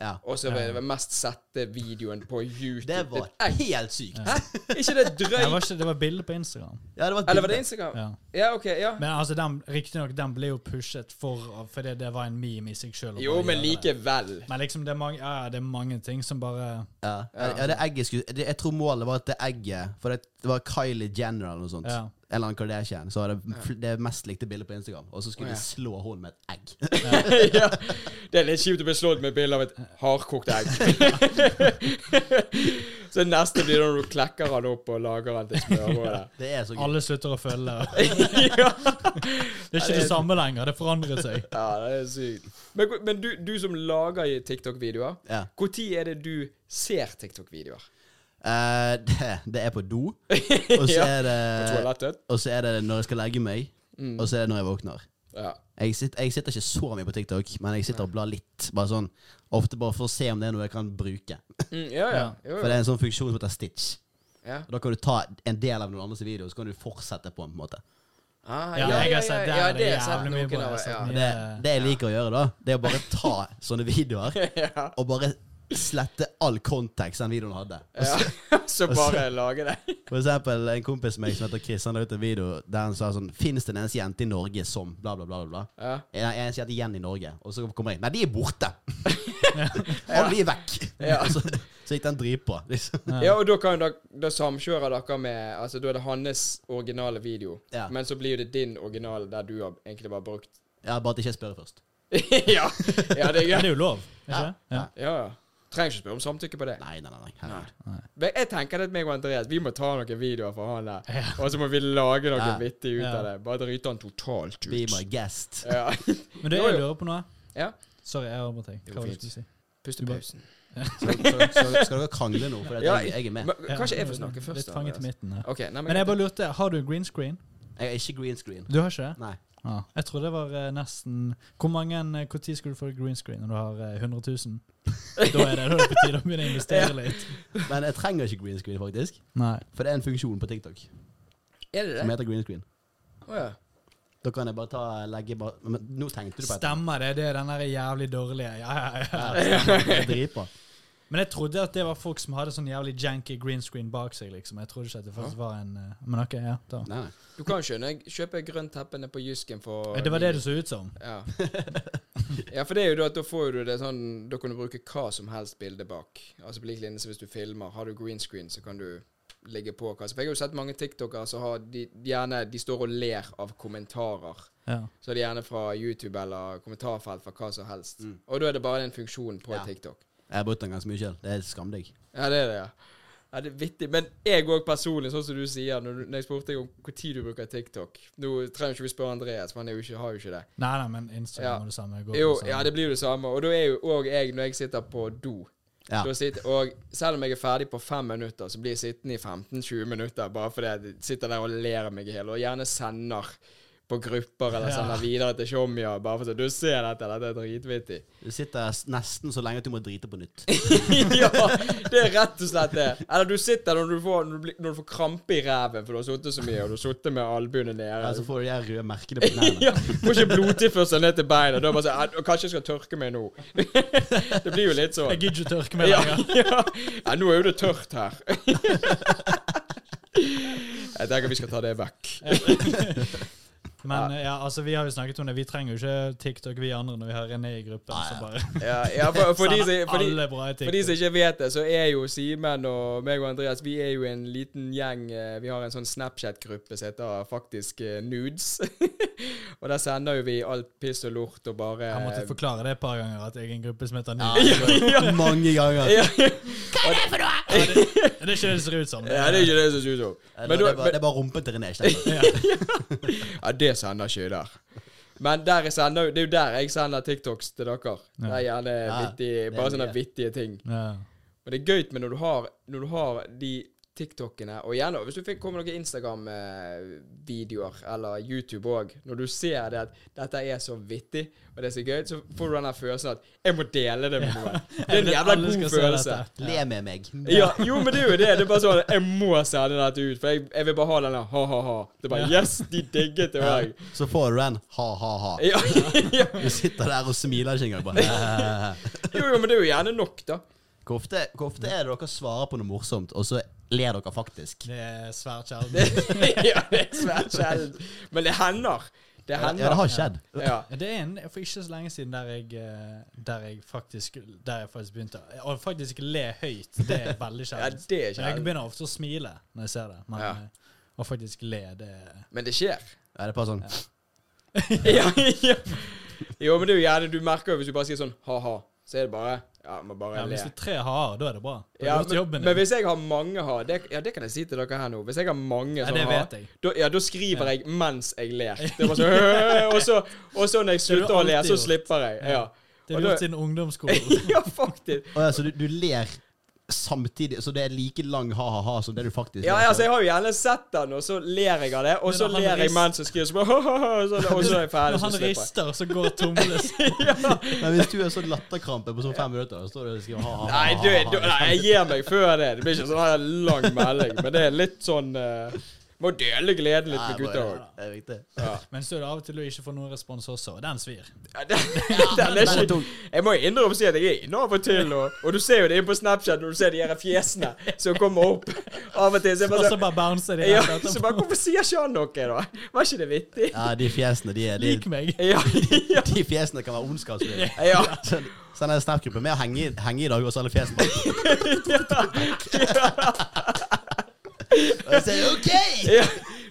Speaker 3: Ja.
Speaker 1: Og så var det den mest sette videoen på YouTube.
Speaker 3: Det var
Speaker 1: Et egg.
Speaker 3: helt sykt.
Speaker 1: Hæ? Ikke det
Speaker 2: Det var,
Speaker 1: drøyt?
Speaker 2: ikke, det var bilde på Instagram.
Speaker 3: Ja, det var et
Speaker 1: Eller var det
Speaker 3: bilde.
Speaker 1: Instagram?
Speaker 2: Ja.
Speaker 1: Ja, OK. Ja.
Speaker 2: Men altså, den, riktignok, den ble jo pushet for fordi det var en meme i seg sjøl.
Speaker 1: Jo, men likevel.
Speaker 2: Men liksom, det er, mange, ja, det er mange ting som bare
Speaker 3: Ja. ja, det egget skulle det, Jeg tror målet var at det egget For det, det var Kylie Jenner eller noe sånt.
Speaker 2: Ja.
Speaker 3: En Eller annen Kardashian. Så var det fl- det mest likte bildet på Instagram. Og så
Speaker 1: Å,
Speaker 3: skulle
Speaker 1: ja.
Speaker 3: de slå henne med et egg.
Speaker 1: ja. Det er litt kjipt å bli slått med et bilde av et hardkokt egg. så neste blir det når du klekker han opp og lager han til smørbrød.
Speaker 3: Det er så gøy.
Speaker 2: Alle slutter å følge.
Speaker 1: ja.
Speaker 2: Det er ikke det samme lenger. Det forandret seg.
Speaker 1: ja, det er sykt. Men, men du, du som lager i TikTok-videoer,
Speaker 3: Ja.
Speaker 1: når er det du ser TikTok-videoer?
Speaker 3: Eh, det, det er på do. Og så
Speaker 1: Ja.
Speaker 3: er
Speaker 1: På Mm.
Speaker 3: det
Speaker 1: toalettet?
Speaker 3: Og så er det når jeg skal legge meg, og så er det når jeg våkner.
Speaker 1: Ja.
Speaker 3: Jeg sitter, jeg sitter ikke så mye på TikTok, men jeg sitter og blar litt. Bare sånn, Ofte bare for å se om det er noe jeg kan bruke.
Speaker 1: Mm, ja, ja.
Speaker 2: Ja,
Speaker 1: Jo,
Speaker 3: For
Speaker 1: jo.
Speaker 3: det er en sånn funksjon som heter stitch.
Speaker 1: Ja.
Speaker 3: Og Da kan du ta en del av noen andres video, så kan du fortsette på en måte.
Speaker 1: Ah,
Speaker 2: Ja, jeg har sett det,
Speaker 1: ja,
Speaker 2: er det
Speaker 1: har jeg
Speaker 2: jævlig mye
Speaker 1: noen
Speaker 2: bra. Jeg
Speaker 1: av,
Speaker 2: har sett
Speaker 1: ja.
Speaker 2: mye.
Speaker 3: Det,
Speaker 2: Ja.
Speaker 3: det jeg liker å gjøre, da, det er å bare ta sånne videoer
Speaker 1: ja.
Speaker 3: og bare slette all kontekst den videoen hadde.
Speaker 1: ja. Så bare lage det.
Speaker 3: For eksempel en kompis med meg som heter Chris, han la ut en video der han sa sånn Fins det en eneste jente i Norge som bla, bla, bla, bla, bla?
Speaker 1: Ja.
Speaker 3: En en eneste jente igjen i Norge. Og så kommer jeg inn. Nei, de er borte! Alle de er vekk!
Speaker 1: Ja.
Speaker 3: Så, så gikk den dritbra. Liksom.
Speaker 1: ja, og da kan dere, da samkjører dere med Altså, da er det hans originale video,
Speaker 3: Ja.
Speaker 1: men så blir jo det din originale der du har egentlig bare brukt
Speaker 3: Ja, bare at ikke jeg spør først.
Speaker 1: ja. ja, det er
Speaker 2: Men
Speaker 1: gøy.
Speaker 2: det er jo lov, ikke det? Ja.
Speaker 1: Ja, ja. Trenger ikke spørre om samtykke på det.
Speaker 3: Nei, nei, nei. nei. herregud.
Speaker 1: Men jeg tenker at meg og Andreas Vi må ta noen videoer fra han der, og så må vi lage noe
Speaker 3: Ja.
Speaker 1: vittig ut
Speaker 2: Ja.
Speaker 1: av det. Bare drite han totalt
Speaker 3: Be
Speaker 1: ut.
Speaker 3: my guest.
Speaker 1: Ja.
Speaker 2: Men du,
Speaker 1: Jo,
Speaker 2: jeg
Speaker 1: jo.
Speaker 2: lurer på noe.
Speaker 1: ja.
Speaker 2: Sorry, jeg avbrøt deg.
Speaker 1: Det
Speaker 2: Hva
Speaker 1: går
Speaker 2: var det
Speaker 1: fint.
Speaker 2: du skulle si?
Speaker 1: Pustepausen.
Speaker 3: Så, så, så skal dere krangle nå, for
Speaker 1: Ja,
Speaker 3: jeg, jeg er med.
Speaker 1: Men Kanskje jeg får snakke først? altså.
Speaker 2: Litt fanget i
Speaker 1: Andreas?
Speaker 2: midten her.
Speaker 1: Ok, nei,
Speaker 2: Men jeg bare lurte, har du green screen?
Speaker 3: Jeg er ikke green screen.
Speaker 2: Du har ikke det?
Speaker 3: Nei.
Speaker 2: Ah. Jeg tror det var eh, nesten Hvor mange eh, Hvor tid skal du få green screen når du har eh, 100 000? Da er det, da er det på tide å begynne å investere litt.
Speaker 3: Men jeg trenger ikke green screen, faktisk.
Speaker 2: Nei.
Speaker 3: For det er en funksjon på TikTok
Speaker 1: Er det
Speaker 3: som
Speaker 1: det?
Speaker 3: heter green screen.
Speaker 1: Å ja.
Speaker 3: Da kan jeg bare ta legge bare, men Nå tenkte du på et-
Speaker 2: Stemmer det? Det er den der jævlig dårlige ja, ja, ja.
Speaker 3: Ja, stemmer. Det er dritbra.
Speaker 2: Men jeg trodde at det var folk som hadde sånn jævlig janky green screen bak seg, liksom. Jeg trodde ikke at det faktisk var en eh, Men ok, ja. Da.
Speaker 3: Nei, nei.
Speaker 1: Du kan skjønne. Jeg kjøper grønt teppene på Jysken for
Speaker 2: Eh, Det var det du så ut som?
Speaker 1: Ja. ja, for det er jo da at da får du det sånn Da kan du bruke hva som helst bilde bak. Altså på lik linje som hvis du filmer. Har du green screen, så kan du legge på hva som For jeg har jo sett mange tiktokere som har de, de gjerne De står og ler av kommentarer.
Speaker 2: Ja.
Speaker 1: Så er det gjerne fra YouTube eller kommentarfelt fra hva som helst. Og da er det bare den funksjonen på
Speaker 3: Ja.
Speaker 1: TikTok.
Speaker 3: Jeg har brukt den ganske mye selv. Det er skam deg.
Speaker 1: Ja, det er det, ja. Ja, det er vittig. Men jeg òg personlig, sånn som du sier, når, du, når jeg spurte deg om når du bruker TikTok Nå trenger ikke vi spørre Andreas, for han er jo ikke, har jo ikke det.
Speaker 2: Nei, nei, men Instagram
Speaker 1: Ja.
Speaker 2: og det samme. Går på
Speaker 1: Jo,
Speaker 2: samme.
Speaker 1: ja, det blir jo det samme. Og da er jo òg jeg, når jeg sitter på do
Speaker 3: Ja.
Speaker 1: da sitter, Og selv om jeg er ferdig på fem minutter, så blir jeg sittende i 15-20 minutter bare fordi jeg sitter der og ler meg i hjel, og gjerne sender på grupper eller
Speaker 2: Ja.
Speaker 1: sender videre til Shomya bare for å si 'Du ser dette, dette er dritvittig'.
Speaker 3: Du sitter s- nesten så lenge at du må drite på nytt.
Speaker 1: ja, det er rett og slett det. Eller du sitter når du får, når du blir, når du får krampe i ræven, for du har sittet så mye, og du har sittet med albuene
Speaker 3: Ja, så
Speaker 1: nede.
Speaker 3: Altså, får du de her røde merkene på knærne.
Speaker 1: Ja, får ikke blodtilførsel ned til beina. Da er det bare sånn «Ah, Kanskje jeg skal tørke meg nå. det blir jo litt sånn.
Speaker 2: Jeg gidder ikke tørke meg
Speaker 1: Ja,
Speaker 2: lenger.
Speaker 1: ja. ja, nå er jo det tørt her. Jeg tenker vi skal ta det vekk.
Speaker 2: Men eh, ja, altså, vi har jo snakket om det. Vi trenger jo ikke TikTok, vi andre, når vi har René i gruppen.
Speaker 3: Nei,
Speaker 2: som
Speaker 3: ja.
Speaker 2: bare
Speaker 1: Ja, ja for, for, de, som-
Speaker 2: sender
Speaker 1: for, de,
Speaker 2: alle bra i
Speaker 1: for de som
Speaker 2: TikTok.
Speaker 1: ikke vet det, så er jo Simen og meg og Andreas Vi er jo en liten gjeng. eh, Vi har en sånn Snapchat-gruppe som heter faktisk eh, Nudes. Og der sender jo vi alt piss og lort og bare
Speaker 2: Jeg måtte forklare det et par ganger, at jeg er en gruppe som heter
Speaker 3: Ja,
Speaker 2: Nudes.
Speaker 3: det var Mange ganger.
Speaker 1: ja, ja,
Speaker 2: Det er ikke det det ser ut som.
Speaker 1: ja, det er ikke det som ser ut som.
Speaker 3: Eller,
Speaker 1: Men
Speaker 3: det,
Speaker 1: da-
Speaker 3: er bare, det er bare rumpen til René. ikke sant?
Speaker 1: Ja, det sender ikke jeg der. Men der jeg sender, det er jo der jeg sender TikToks til dere. Det er gjerne
Speaker 3: Ja,
Speaker 1: vittige,
Speaker 3: det er
Speaker 1: bare sånne
Speaker 3: mye.
Speaker 1: vittige ting.
Speaker 2: Ja.
Speaker 1: Men det er gøy med når du har, når du har de TikTokene, og gjerne hvis du fikk komme noen Instagram-videoer eller YouTube òg, når du ser det at dette er så vittig og det er så gøy, så får du den der følelsen at 'jeg må dele det med noen'. Det er en jævla
Speaker 2: Alle skal
Speaker 1: god
Speaker 2: se
Speaker 1: følelse.
Speaker 2: dette.
Speaker 3: Le med meg.
Speaker 1: Ja, jo, men det er jo det. Det er bare sånn Jeg må sende dette ut, for jeg, jeg vil bare ha den der ha-ha-ha. Det er bare Yes, de digget det òg.
Speaker 3: Så får du den ha-ha-ha.
Speaker 1: Ja, ja.
Speaker 3: Du sitter der og smiler ikke engang. Bare.
Speaker 1: Jo, jo, men det er jo gjerne nok, da.
Speaker 3: Hvor ofte, hvor ofte er det dere svarer på noe morsomt, og så ler dere faktisk?
Speaker 2: Det er svært sjelden.
Speaker 1: ja, det er svært sjelden. Men det hender. Det
Speaker 3: Ja,
Speaker 1: hender.
Speaker 3: det har skjedd.
Speaker 1: Ja.
Speaker 2: Ja, Det er en, for ikke så lenge siden der jeg, eh, der jeg, faktisk, der jeg faktisk begynte å- Å faktisk le høyt, det er
Speaker 1: ja,
Speaker 2: veldig sjelden.
Speaker 1: det er
Speaker 2: Men Jeg
Speaker 1: sjelden.
Speaker 2: begynner ofte å smile når jeg ser det, men
Speaker 1: Ja.
Speaker 2: eh, å faktisk le, det er
Speaker 1: Men det skjer.
Speaker 3: Ja, det er bare sånn
Speaker 1: ja, ja. Jo, men det er jo gjerne Du merker jo hvis du bare sier sånn ha-ha, så er det bare Ja, man bare
Speaker 2: ja, Hvis
Speaker 1: ler.
Speaker 2: du er tre har, da er det bra. Da
Speaker 1: Ja,
Speaker 2: har du gjort
Speaker 1: men,
Speaker 2: jobben
Speaker 1: men
Speaker 2: din.
Speaker 1: hvis jeg har mange ha det, Ja, det kan jeg si til dere her nå. Hvis jeg har mange
Speaker 2: Ja,
Speaker 1: sånne
Speaker 2: det
Speaker 1: ha,
Speaker 2: vet jeg.
Speaker 1: da, ja, da skriver jeg mens jeg ler. Det er bare sånn «Øh», og, så, og så når jeg
Speaker 2: har du
Speaker 1: slutter å le,
Speaker 2: alltid
Speaker 1: så
Speaker 2: gjort.
Speaker 1: slipper jeg. Ja, Og
Speaker 2: Det har du
Speaker 1: da-
Speaker 2: gjort siden ungdomsskolen.
Speaker 1: ja faktisk.
Speaker 3: Å ja, så du, du ler samtidig Så det er like lang ha-ha-ha som det du faktisk
Speaker 1: Ja,
Speaker 3: er.
Speaker 1: altså Jeg har jo gjerne sett den, og så ler jeg av det. Og
Speaker 2: Men
Speaker 1: så
Speaker 2: når han
Speaker 1: ler jeg
Speaker 2: rist-
Speaker 1: mens jeg skriver, så bare, så, og så er jeg ferdig.
Speaker 2: Når
Speaker 1: Så
Speaker 2: han
Speaker 1: slipper jeg.
Speaker 2: rister, så går tommelen
Speaker 3: Men hvis du er sånn latterkrampe på sånn fem minutter, så står du og skriver ha-ha-ha
Speaker 1: Nei, du, du, nei, jeg gir meg før det. Det blir ikke sånn her lang melding, men det er litt sånn eh, Må dele gleden litt med gutta òg.
Speaker 3: Det er viktig.
Speaker 2: Men så er det av og til du ikke får noen respons også, og den svir.
Speaker 1: Ja, den- den er ikke Jeg må innrømme å si at jeg er inne av og til, og, og du ser jo det inne på Snapchat når du ser de her fjesene som kommer opp av og til. Så jeg
Speaker 2: Og
Speaker 1: bare sånn
Speaker 2: så Altså, bare bouncer de
Speaker 1: ja,
Speaker 2: rett etterpå.
Speaker 1: så bare, Hvorfor sier ikke han noe, da? Var ikke det vittig?
Speaker 3: Ja, de fjesene, de er de,
Speaker 2: Lik meg.
Speaker 1: Ja, ja,
Speaker 3: de fjesene kan være ondskapsfulle.
Speaker 1: ja.
Speaker 3: Sånn sånn er Snap-gruppen. Vi har henge, henge i dag, og så alle fjesene bare Og jeg sier OK!
Speaker 1: ja.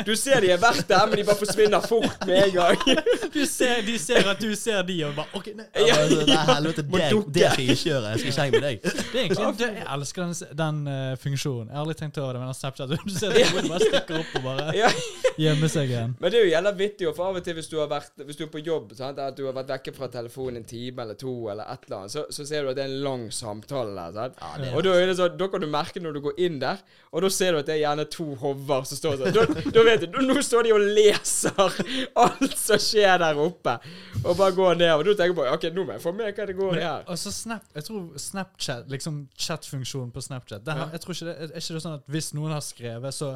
Speaker 1: Du ser de er verdt det, men de bare forsvinner fort med en gang.
Speaker 2: Du ser, de ser at du ser de, og bare OK, nei.
Speaker 3: Ja, men så, Nei, helvete,
Speaker 1: Må
Speaker 3: det,
Speaker 1: dukke.
Speaker 3: det skal jeg ikke gjøre. Jeg skal ikke henge med deg.
Speaker 2: Det er egentlig, det, jeg elsker den, den eh, funksjonen. Jeg har aldri tenkt over det, men den Snapchat Du ser at hodet bare stikker opp og bare
Speaker 1: Ja.
Speaker 2: gjemmer seg igjen.
Speaker 1: Men det er jo jævla vittig, og for av og til hvis du har vært Hvis du er på jobb, sant, at du har vært vekke fra telefonen en time eller to, eller et eller annet, så, så ser du at det er en lang samtale der. Sant?
Speaker 3: det er
Speaker 1: og da, er det sånn, da kan du merke når du går inn der, og da ser du at det er gjerne to hover som står sånn. Da, da vet du, Nå står de og leser alt som skjer der oppe, og bare går ned. Og da tenker jeg bare OK, nå må jeg få med hva det går i her.
Speaker 2: Og så Snap, jeg tror Snapchat, liksom chatfunksjonen på Snapchat det har, jeg tror ikke det, Er ikke det sånn at hvis noen har skrevet, så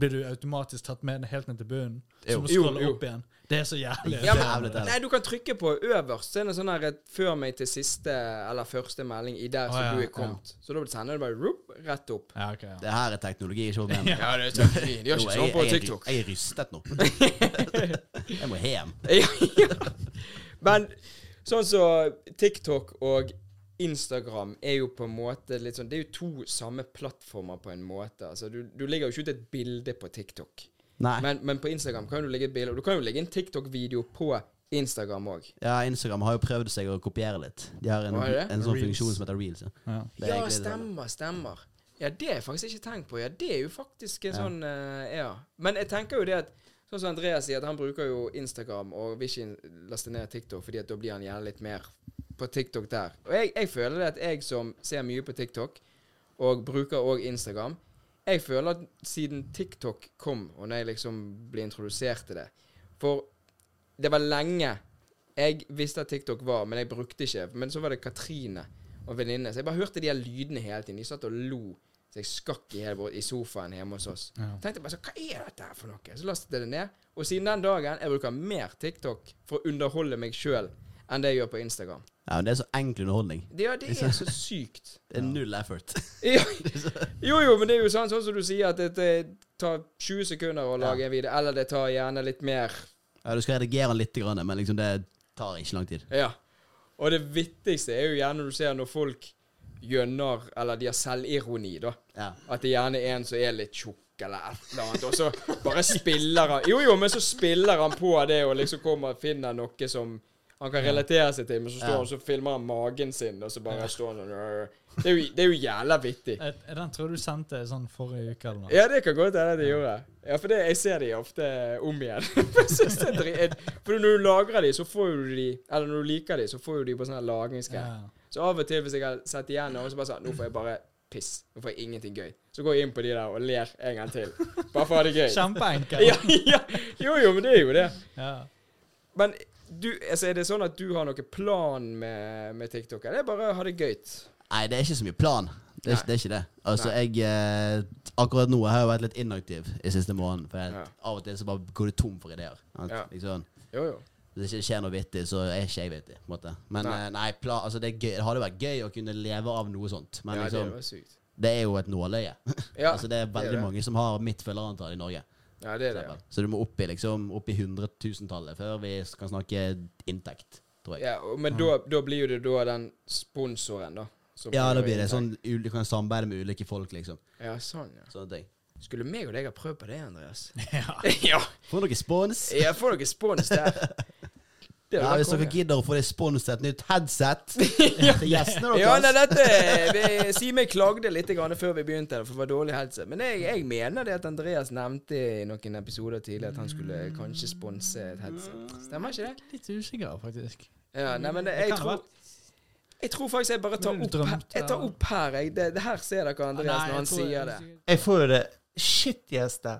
Speaker 2: blir du automatisk tatt med helt ned til bunnen? Så må du
Speaker 1: Jo,
Speaker 2: scrolle
Speaker 1: jo.
Speaker 2: opp igjen. Det er så jævlig.
Speaker 1: Ja,
Speaker 3: Jævlig
Speaker 1: men,
Speaker 3: teit.
Speaker 1: nei, du kan trykke på øverst. Så er det sånn her et 'før meg til siste' eller 'første melding' i der
Speaker 2: Å,
Speaker 1: som
Speaker 2: ja,
Speaker 1: du er
Speaker 2: ja.
Speaker 1: kommet. Så da sender du bare rup, rett opp.
Speaker 2: Ja, ok, ja.
Speaker 3: Det her er teknologi. Ikke hold med meg.
Speaker 1: Ja, det er teknologi. De har
Speaker 3: Jo,
Speaker 1: ikke
Speaker 3: jeg-
Speaker 1: sånn på
Speaker 3: jeg er-
Speaker 1: TikTok.
Speaker 3: Jeg er rystet nå. Jeg må hjem.
Speaker 1: Men sånn som TikTok og Instagram er jo på en måte litt sånn Det er jo to samme plattformer på en måte. Altså, du, du legger jo ikke ut et bilde på TikTok.
Speaker 3: Nei.
Speaker 1: Men, men på Instagram kan du legge et bilde, og du kan jo legge en TikTok-video på Instagram òg.
Speaker 3: Ja, Instagram har jo prøvd seg å kopiere litt. De har en,
Speaker 1: Hva er det?
Speaker 3: en sånn
Speaker 2: Reels.
Speaker 3: funksjon som heter reels. Ja.
Speaker 2: Ja.
Speaker 3: Det er
Speaker 1: Ja,
Speaker 3: egentlig det samme.
Speaker 1: stemmer, stemmer. Ja, det har jeg faktisk ikke tenkt på. Ja, det er jo faktisk en
Speaker 3: Ja.
Speaker 1: sånn eh, Ja. Men jeg tenker jo det at Sånn som Andreas sier, at han bruker jo Instagram og vil ikke laste ned TikTok, fordi at da blir han gjerne litt mer på TikTok der. Og jeg, jeg føler det at jeg som ser mye på TikTok, og bruker òg Instagram Jeg føler at siden TikTok kom, og når jeg liksom ble introdusert til det For det var lenge jeg visste at TikTok var, men jeg brukte ikke. Men så var det Katrine og venninne. Så jeg bare hørte de her lydene hele tiden. De satt og lo. Så jeg skakk i, hele, vår- i sofaen hjemme hos oss.
Speaker 2: Ja.
Speaker 1: Tenkte bare så, Hva er dette her for noe? Så lastet jeg det ned. Og siden den dagen jeg bruker mer TikTok for å underholde meg sjøl enn det jeg gjør på Instagram.
Speaker 3: Ja, men det er så enkel underholdning.
Speaker 1: Det, ja, det er så sykt.
Speaker 3: Det er null effort.
Speaker 1: Ja. Jo, jo, men det er jo sånn, sånn som du sier, at det, det tar 20 sekunder å lage en video. Eller det tar gjerne litt mer.
Speaker 3: Ja, Du skal redigere den litt, grann, men liksom det tar ikke lang tid.
Speaker 1: Ja. Og det vittigste er jo gjerne når du ser når folk gjønner, eller de har selvironi, da.
Speaker 3: Ja.
Speaker 1: At det gjerne er en som er litt tjukk, eller et eller annet, og så bare spiller han Jo, jo, men så spiller han på det, og liksom kommer og finner noe som han kan relatere seg til, men så står
Speaker 3: Ja.
Speaker 1: han så filmer han magen sin, og så bare står han sånn «Rrr». Det er jo, det er jo jævla vittig.
Speaker 2: Eh, Den tror jeg du sendte sånn forrige uke eller noe.
Speaker 1: Ja, det kan godt hende de gjorde. Ja, for det, jeg ser de ofte eh, om igjen. Jeg synes det er drit- for når du lagrer de, så får jo du de Eller når du liker de, så får jo de på sånn her lagringsgreier.
Speaker 2: Ja.
Speaker 1: Så av og til hvis jeg har sett igjen og så bare sånn Nå får jeg bare piss. Nå får jeg ingenting gøy. Så går jeg inn på de der og ler en gang til. Bare for å ha det gøy.
Speaker 2: Kjempeenkel.
Speaker 1: Ja, ja. Jo, jo, men det er jo det.
Speaker 2: Ja.
Speaker 1: Men du, altså, er det sånn at du har noen plan med, med TikTok? Eller er det bare å ha det gøy?
Speaker 3: Nei, det er ikke så mye plan.
Speaker 1: Nei.
Speaker 3: Det er, ikke- det er ikke det. Altså, jeg eh, Akkurat nå har jeg jo vært litt inaktiv i siste måneden. For jeg,
Speaker 1: Ja.
Speaker 3: av og til så bare går du tom for ideer. sant?
Speaker 1: Ja.
Speaker 3: Liksom,
Speaker 1: Jo, jo.
Speaker 3: hvis det ikke skjer noe vittig, så er ikke jeg vittig. på en måte Men
Speaker 1: Nei.
Speaker 3: nei, nei plan, altså, det, er gøy, det hadde vært gøy å kunne leve av noe sånt. Men
Speaker 1: Ja, det
Speaker 3: liksom,
Speaker 1: var sykt.
Speaker 3: det er jo et nåløye.
Speaker 1: Ja,
Speaker 3: altså, det er veldig
Speaker 1: det.
Speaker 3: mange som har mitt følgerantall i Norge.
Speaker 1: Ja, det er det.
Speaker 3: eksempel. Så du må opp i liksom, opp i hundretusentallet før vi kan snakke inntekt, tror jeg.
Speaker 1: Ja, og- men da, da blir jo det da den sponsoren, da. som
Speaker 3: Ja,
Speaker 1: får
Speaker 3: da blir det
Speaker 1: inntekt.
Speaker 3: sånn ul- Du kan samarbeide med ulike folk, liksom.
Speaker 1: Ja, sånn, ja.
Speaker 3: Sånne ting.
Speaker 1: Skulle meg og deg ha prøvd på det, Andreas?
Speaker 2: Ja.
Speaker 1: ja.
Speaker 3: Får dere spons?
Speaker 1: Jeg får noe spons der. Det
Speaker 3: Ja,
Speaker 1: hadde vært
Speaker 3: hvis dere
Speaker 1: konge.
Speaker 3: gidder å få det spons til et nytt headset til gjestene
Speaker 1: Ja, nei,
Speaker 3: deres.
Speaker 1: dette vi- Simen klagde litt grann før vi begynte, for det var dårlig helse. Men jeg, jeg mener det at Andreas nevnte i noen episoder tidligere at han skulle kanskje sponse et headset. Stemmer ikke det?
Speaker 2: Litt usikker, faktisk.
Speaker 1: Ja, nei, men
Speaker 2: Det
Speaker 1: jeg
Speaker 2: kan ha
Speaker 1: tror
Speaker 2: vært.
Speaker 1: Jeg tror faktisk jeg bare tar
Speaker 2: Men du
Speaker 1: opp her.
Speaker 2: drømte,
Speaker 1: Jeg tar
Speaker 2: ja.
Speaker 1: opp her, jeg. Det, det her ser dere Andreas
Speaker 2: Nei, jeg
Speaker 1: når han
Speaker 2: tror-
Speaker 1: sier det.
Speaker 4: Jeg får jo det shittieste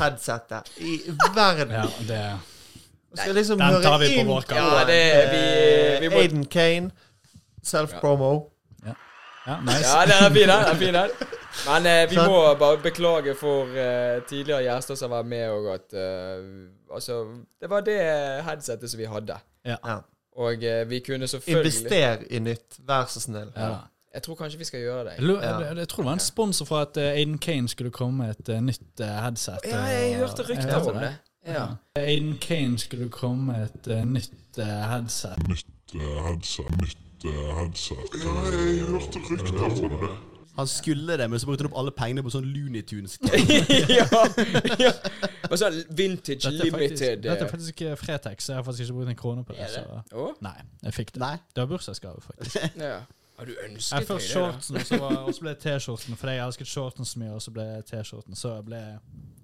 Speaker 4: headsetet i verden.
Speaker 2: Ja, det
Speaker 4: Jeg Skal liksom
Speaker 2: Den
Speaker 4: høre
Speaker 2: tar vi på
Speaker 4: inn
Speaker 2: vår kappe.
Speaker 4: på,
Speaker 1: Ja, det- vi- vi
Speaker 4: eh,
Speaker 1: må-
Speaker 4: Aiden Kane, self-promo.
Speaker 2: ja, nice.
Speaker 1: Ja, den er fin, den. er fin den. Men eh, vi må bare beklage for eh, tidligere gjester som var med, og at eh, Altså, det var det headsetet som vi hadde.
Speaker 4: Ja.
Speaker 1: Og eh, vi kunne selvfølgelig
Speaker 4: Invester i nytt, vær så snill.
Speaker 2: Ja. da.
Speaker 1: Jeg tror kanskje vi skal gjøre det.
Speaker 2: Jeg, lo- jeg, jeg tror det var en sponsor for at eh, Aiden Kane skulle komme med et eh, nytt eh, headset.
Speaker 1: Ja, jeg
Speaker 2: og-
Speaker 1: hørte
Speaker 2: Jeg
Speaker 1: rykter
Speaker 2: hørte
Speaker 1: om det. Ja.
Speaker 2: Aiden Kane skulle komme med et eh, nytt eh, headset.
Speaker 3: Han skulle det, men så brukte han opp alle pengene på sånn Looney Tunes. Det
Speaker 1: ja, ja. Og så vintage
Speaker 2: Dette er faktisk,
Speaker 1: limited.
Speaker 2: dette er faktisk altså- ikke Fretex, så jeg har faktisk ikke brukt en krone på det.
Speaker 1: eh, Er det?
Speaker 2: Så.
Speaker 1: Å?
Speaker 2: Nei, jeg fikk det.
Speaker 3: Nei.
Speaker 2: Det var bursdagsgave, faktisk.
Speaker 1: Ja. Har du ønsket
Speaker 2: Jeg først shortsen, og så, var, og så ble det T-skjorten, fordi jeg elsket shorten så mye, og så ble det T-skjorten. Så, jeg ble-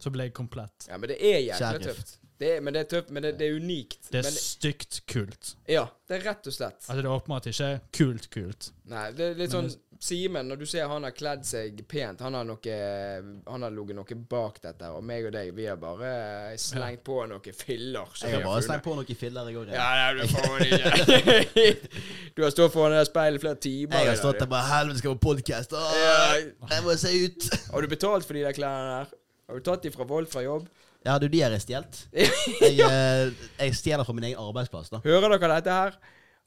Speaker 2: så ble jeg komplett.
Speaker 1: Ja, men det er jækla
Speaker 3: Sheriff.
Speaker 1: tøft. Det er, men det er tøft, men det, det er unikt.
Speaker 2: Det er
Speaker 1: men,
Speaker 2: stygt kult.
Speaker 1: ja, det er rett og slett.
Speaker 2: Altså, det er åpenbart ikke kult kult.
Speaker 1: Nei, det er litt sånn Simen, når du ser han har kledd seg pent, han har noe Han har ligget noe bak dette, og meg og deg, vi har bare slengt på noe filler. som
Speaker 3: Jeg har
Speaker 1: vi
Speaker 3: bare
Speaker 1: funnet.
Speaker 3: slengt på noen filler i går.
Speaker 1: Ja,
Speaker 3: Jeg,
Speaker 1: det er du faen ikke. Du har stått foran det der speilet i flere timer.
Speaker 3: jeg
Speaker 1: i
Speaker 3: har
Speaker 1: dag, du.
Speaker 3: stått der bare Helvete, skal jeg på podkast?
Speaker 1: Ja.
Speaker 3: Jeg må se ut!
Speaker 1: Har du betalt for de der klærne der? Har du tatt de fra Vold fra jobb?
Speaker 3: Ja, du, de har jeg stjålet. Jeg, eh, jeg stjeler fra min egen arbeidsplass, da.
Speaker 1: Hører dere dette her?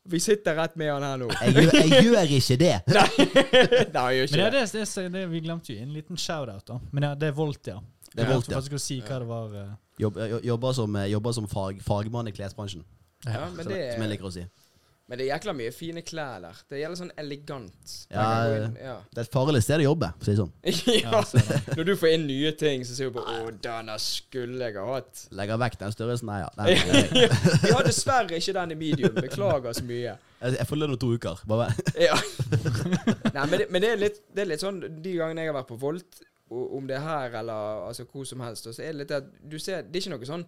Speaker 1: Vi sitter rett med han her nå.
Speaker 3: Jeg gjør, jeg gjør ikke det.
Speaker 1: Nei, jeg gjør
Speaker 2: Men
Speaker 1: ikke
Speaker 2: ja,
Speaker 1: det.
Speaker 2: det, det, det, det, vi glemte jo en liten shout-out, da. Men ja, det er Voltia.
Speaker 3: Det er
Speaker 2: Jeg
Speaker 3: Voltia.
Speaker 2: tror faktisk jeg skulle si hva det var. eh.
Speaker 3: Jobb, jo- jobber som, eh, jobber som fag, fagmann i klesbransjen,
Speaker 1: Ja, men
Speaker 3: som,
Speaker 1: det
Speaker 3: som jeg liker å si.
Speaker 1: Men det er jækla mye fine klær der. Det gjelder sånn elegant.
Speaker 3: Ja,
Speaker 1: Man kan gå inn- ja.
Speaker 3: Det er et farlig sted å jobbe, for å si det sånn.
Speaker 1: ja. Når du får inn nye ting, så sier du bare 'Å, denne skulle jeg ha hatt'.
Speaker 3: Legger vekk den størrelsen. Nei, ja. Nei, jeg,
Speaker 1: Vi har dessverre ikke den i medium. Beklager så mye.
Speaker 3: jeg, jeg får lønn om to uker. Bare
Speaker 1: Ja. Nei, men det, men det, er litt, det er litt sånn de gangene jeg har vært på Volt, o- om det er her eller altså, hvor som helst, så er det litt det at du ser Det er ikke noe sånn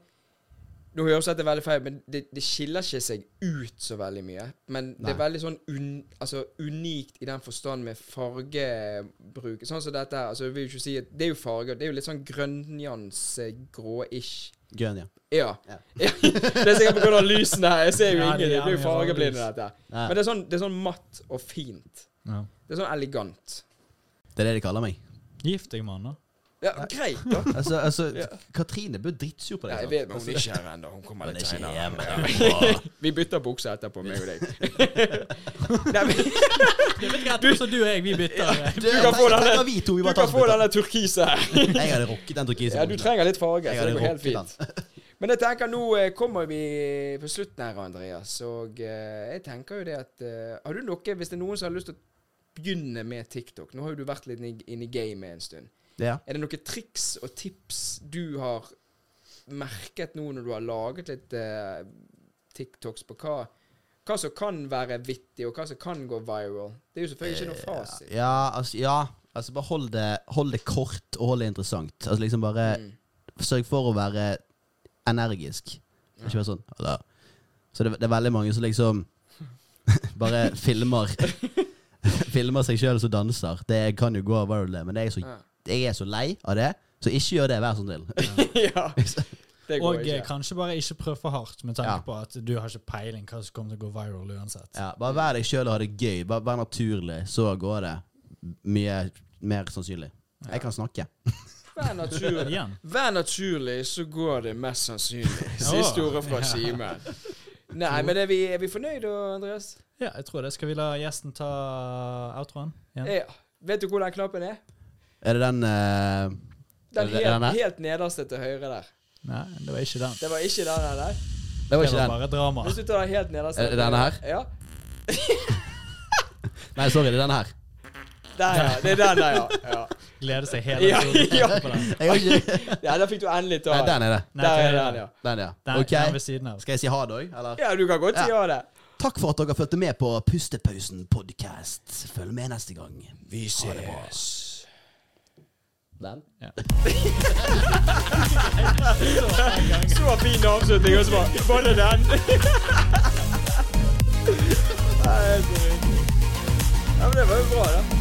Speaker 1: Nå høres dette veldig feil, men det, det skiller ikke seg ut så veldig mye. Men det er
Speaker 3: Nei.
Speaker 1: veldig sånn un, altså, unikt i den forstand med fargebruk. Sånn som dette her. Altså, jeg vil jo ikke si at det er jo farger. Det er jo litt sånn grønnjanse, grå-ish.
Speaker 3: grønn, ja.
Speaker 1: Ja.
Speaker 3: Ja.
Speaker 1: det er sikkert pga. lysene her. Jeg ser jo
Speaker 2: Ja,
Speaker 1: ingen.
Speaker 2: det
Speaker 1: Det er
Speaker 2: er
Speaker 1: jo
Speaker 2: mye sånn
Speaker 1: fargeblinde,
Speaker 2: fargelys.
Speaker 1: dette.
Speaker 3: Ja.
Speaker 1: Men det er, sånn, det er sånn matt og fint.
Speaker 2: Ja.
Speaker 1: Det er sånn elegant.
Speaker 3: Det er det de kaller meg.
Speaker 2: Gift deg med han, da.
Speaker 1: Ja, greit, da.
Speaker 3: Altså, altså Katrine ble dritsur på
Speaker 1: Ja,
Speaker 3: deg.
Speaker 1: jeg vet, men hun er ikke her ennå. Hun kommer litt senere.
Speaker 3: hjemme.
Speaker 1: Vi bytter bukse etterpå, meg og deg. Nei, men,
Speaker 2: Du, så du og jeg, vi bytter.
Speaker 3: Du
Speaker 1: kan få denne-
Speaker 3: Vi to, vi
Speaker 1: du
Speaker 3: bare
Speaker 1: kan
Speaker 3: tar
Speaker 1: få
Speaker 3: den.
Speaker 1: denne turkise her.
Speaker 3: Jeg hadde rocket den turkisen.
Speaker 1: Ja, du trenger litt farge, så det
Speaker 3: Jeg hadde
Speaker 1: går helt
Speaker 3: rocket den.
Speaker 1: fint. Men jeg tenker, nå eh, kommer vi på slutten her, Andreas, og eh, jeg tenker jo det at eh, Har du noe, hvis det er noen som har lyst til å begynne med TikTok Nå har jo du vært litt inne i- inne i gamet en stund.
Speaker 3: Ja.
Speaker 1: Er det noen triks og tips du har merket nå når du har laget litt eh, TikToks på hva, hva som kan være vittig, og hva som kan gå viral? Det er jo selvfølgelig ikke noe fasit.
Speaker 3: Eh, Ja, altså, ja. altså bare hold det, hold det kort, og hold det interessant. Altså liksom bare
Speaker 1: Mm.
Speaker 3: Sørg for å være energisk. Ikke være sånn eller. Så det, det er veldig mange som liksom bare filmer Filmer seg sjøl som danser. Det kan jo gå viral, det, men jeg er, så,
Speaker 1: Ja.
Speaker 3: jeg er så lei av det. Så ikke gjør det, vær så snill.
Speaker 1: ja. Det går
Speaker 2: Og eh,
Speaker 1: ikke.
Speaker 2: kanskje bare ikke prøv for hardt, med tanke
Speaker 3: Ja.
Speaker 2: på at du har ikke peiling hva som kommer til å gå viral uansett.
Speaker 3: Ja, bare vær deg sjøl og ha det gøy. Bare Vær naturlig, så går det mye mer sannsynlig. Jeg kan snakke.
Speaker 1: Vær naturlig.
Speaker 2: Igjen.
Speaker 1: Vær naturlig, så går det mest sannsynlig. Siste ordet fra Simen. Nei, men er vi, er vi fornøyd da, Andreas?
Speaker 2: Ja, jeg tror det. Skal vi la gjesten ta outroen? Igjen?
Speaker 1: Ja. Vet du hvor den knappen er?
Speaker 3: Er det den eh,
Speaker 1: Den
Speaker 3: Er det
Speaker 1: helt,
Speaker 3: denne?
Speaker 1: helt nederste til høyre der.
Speaker 2: Nei, det var ikke den.
Speaker 1: Det var ikke den der, nei?
Speaker 3: Det var
Speaker 2: Det
Speaker 3: ikke
Speaker 2: var
Speaker 3: den.
Speaker 2: bare drama.
Speaker 1: Hvis du tar den helt nederst
Speaker 3: Er det denne her?
Speaker 1: Ja.
Speaker 3: Nei, sorry, det er den her.
Speaker 1: Der, ja. Det er den der, ja. ja.
Speaker 2: Gleder seg hele
Speaker 1: Ja,
Speaker 2: tiden
Speaker 1: ja.
Speaker 2: på den.
Speaker 3: Jeg har ikke
Speaker 1: Ja, der fikk du endelig ta
Speaker 3: Nei, den er det.
Speaker 2: Nei,
Speaker 1: Der er
Speaker 2: det er
Speaker 1: den,
Speaker 2: det.
Speaker 1: ja.
Speaker 3: Den, ja.
Speaker 2: Den,
Speaker 3: Ok.
Speaker 2: den ved siden av.
Speaker 3: Skal jeg si ha det òg, eller?
Speaker 1: Ja, du kan godt si ja det.
Speaker 3: Takk for at dere fulgte med på Pustepausen podcast. Følg med neste gang. Vi ses. Den?
Speaker 1: Så fin avslutning, og så bare Var det den? Nei, det er så vidt. Ja, men det var jo bra, da.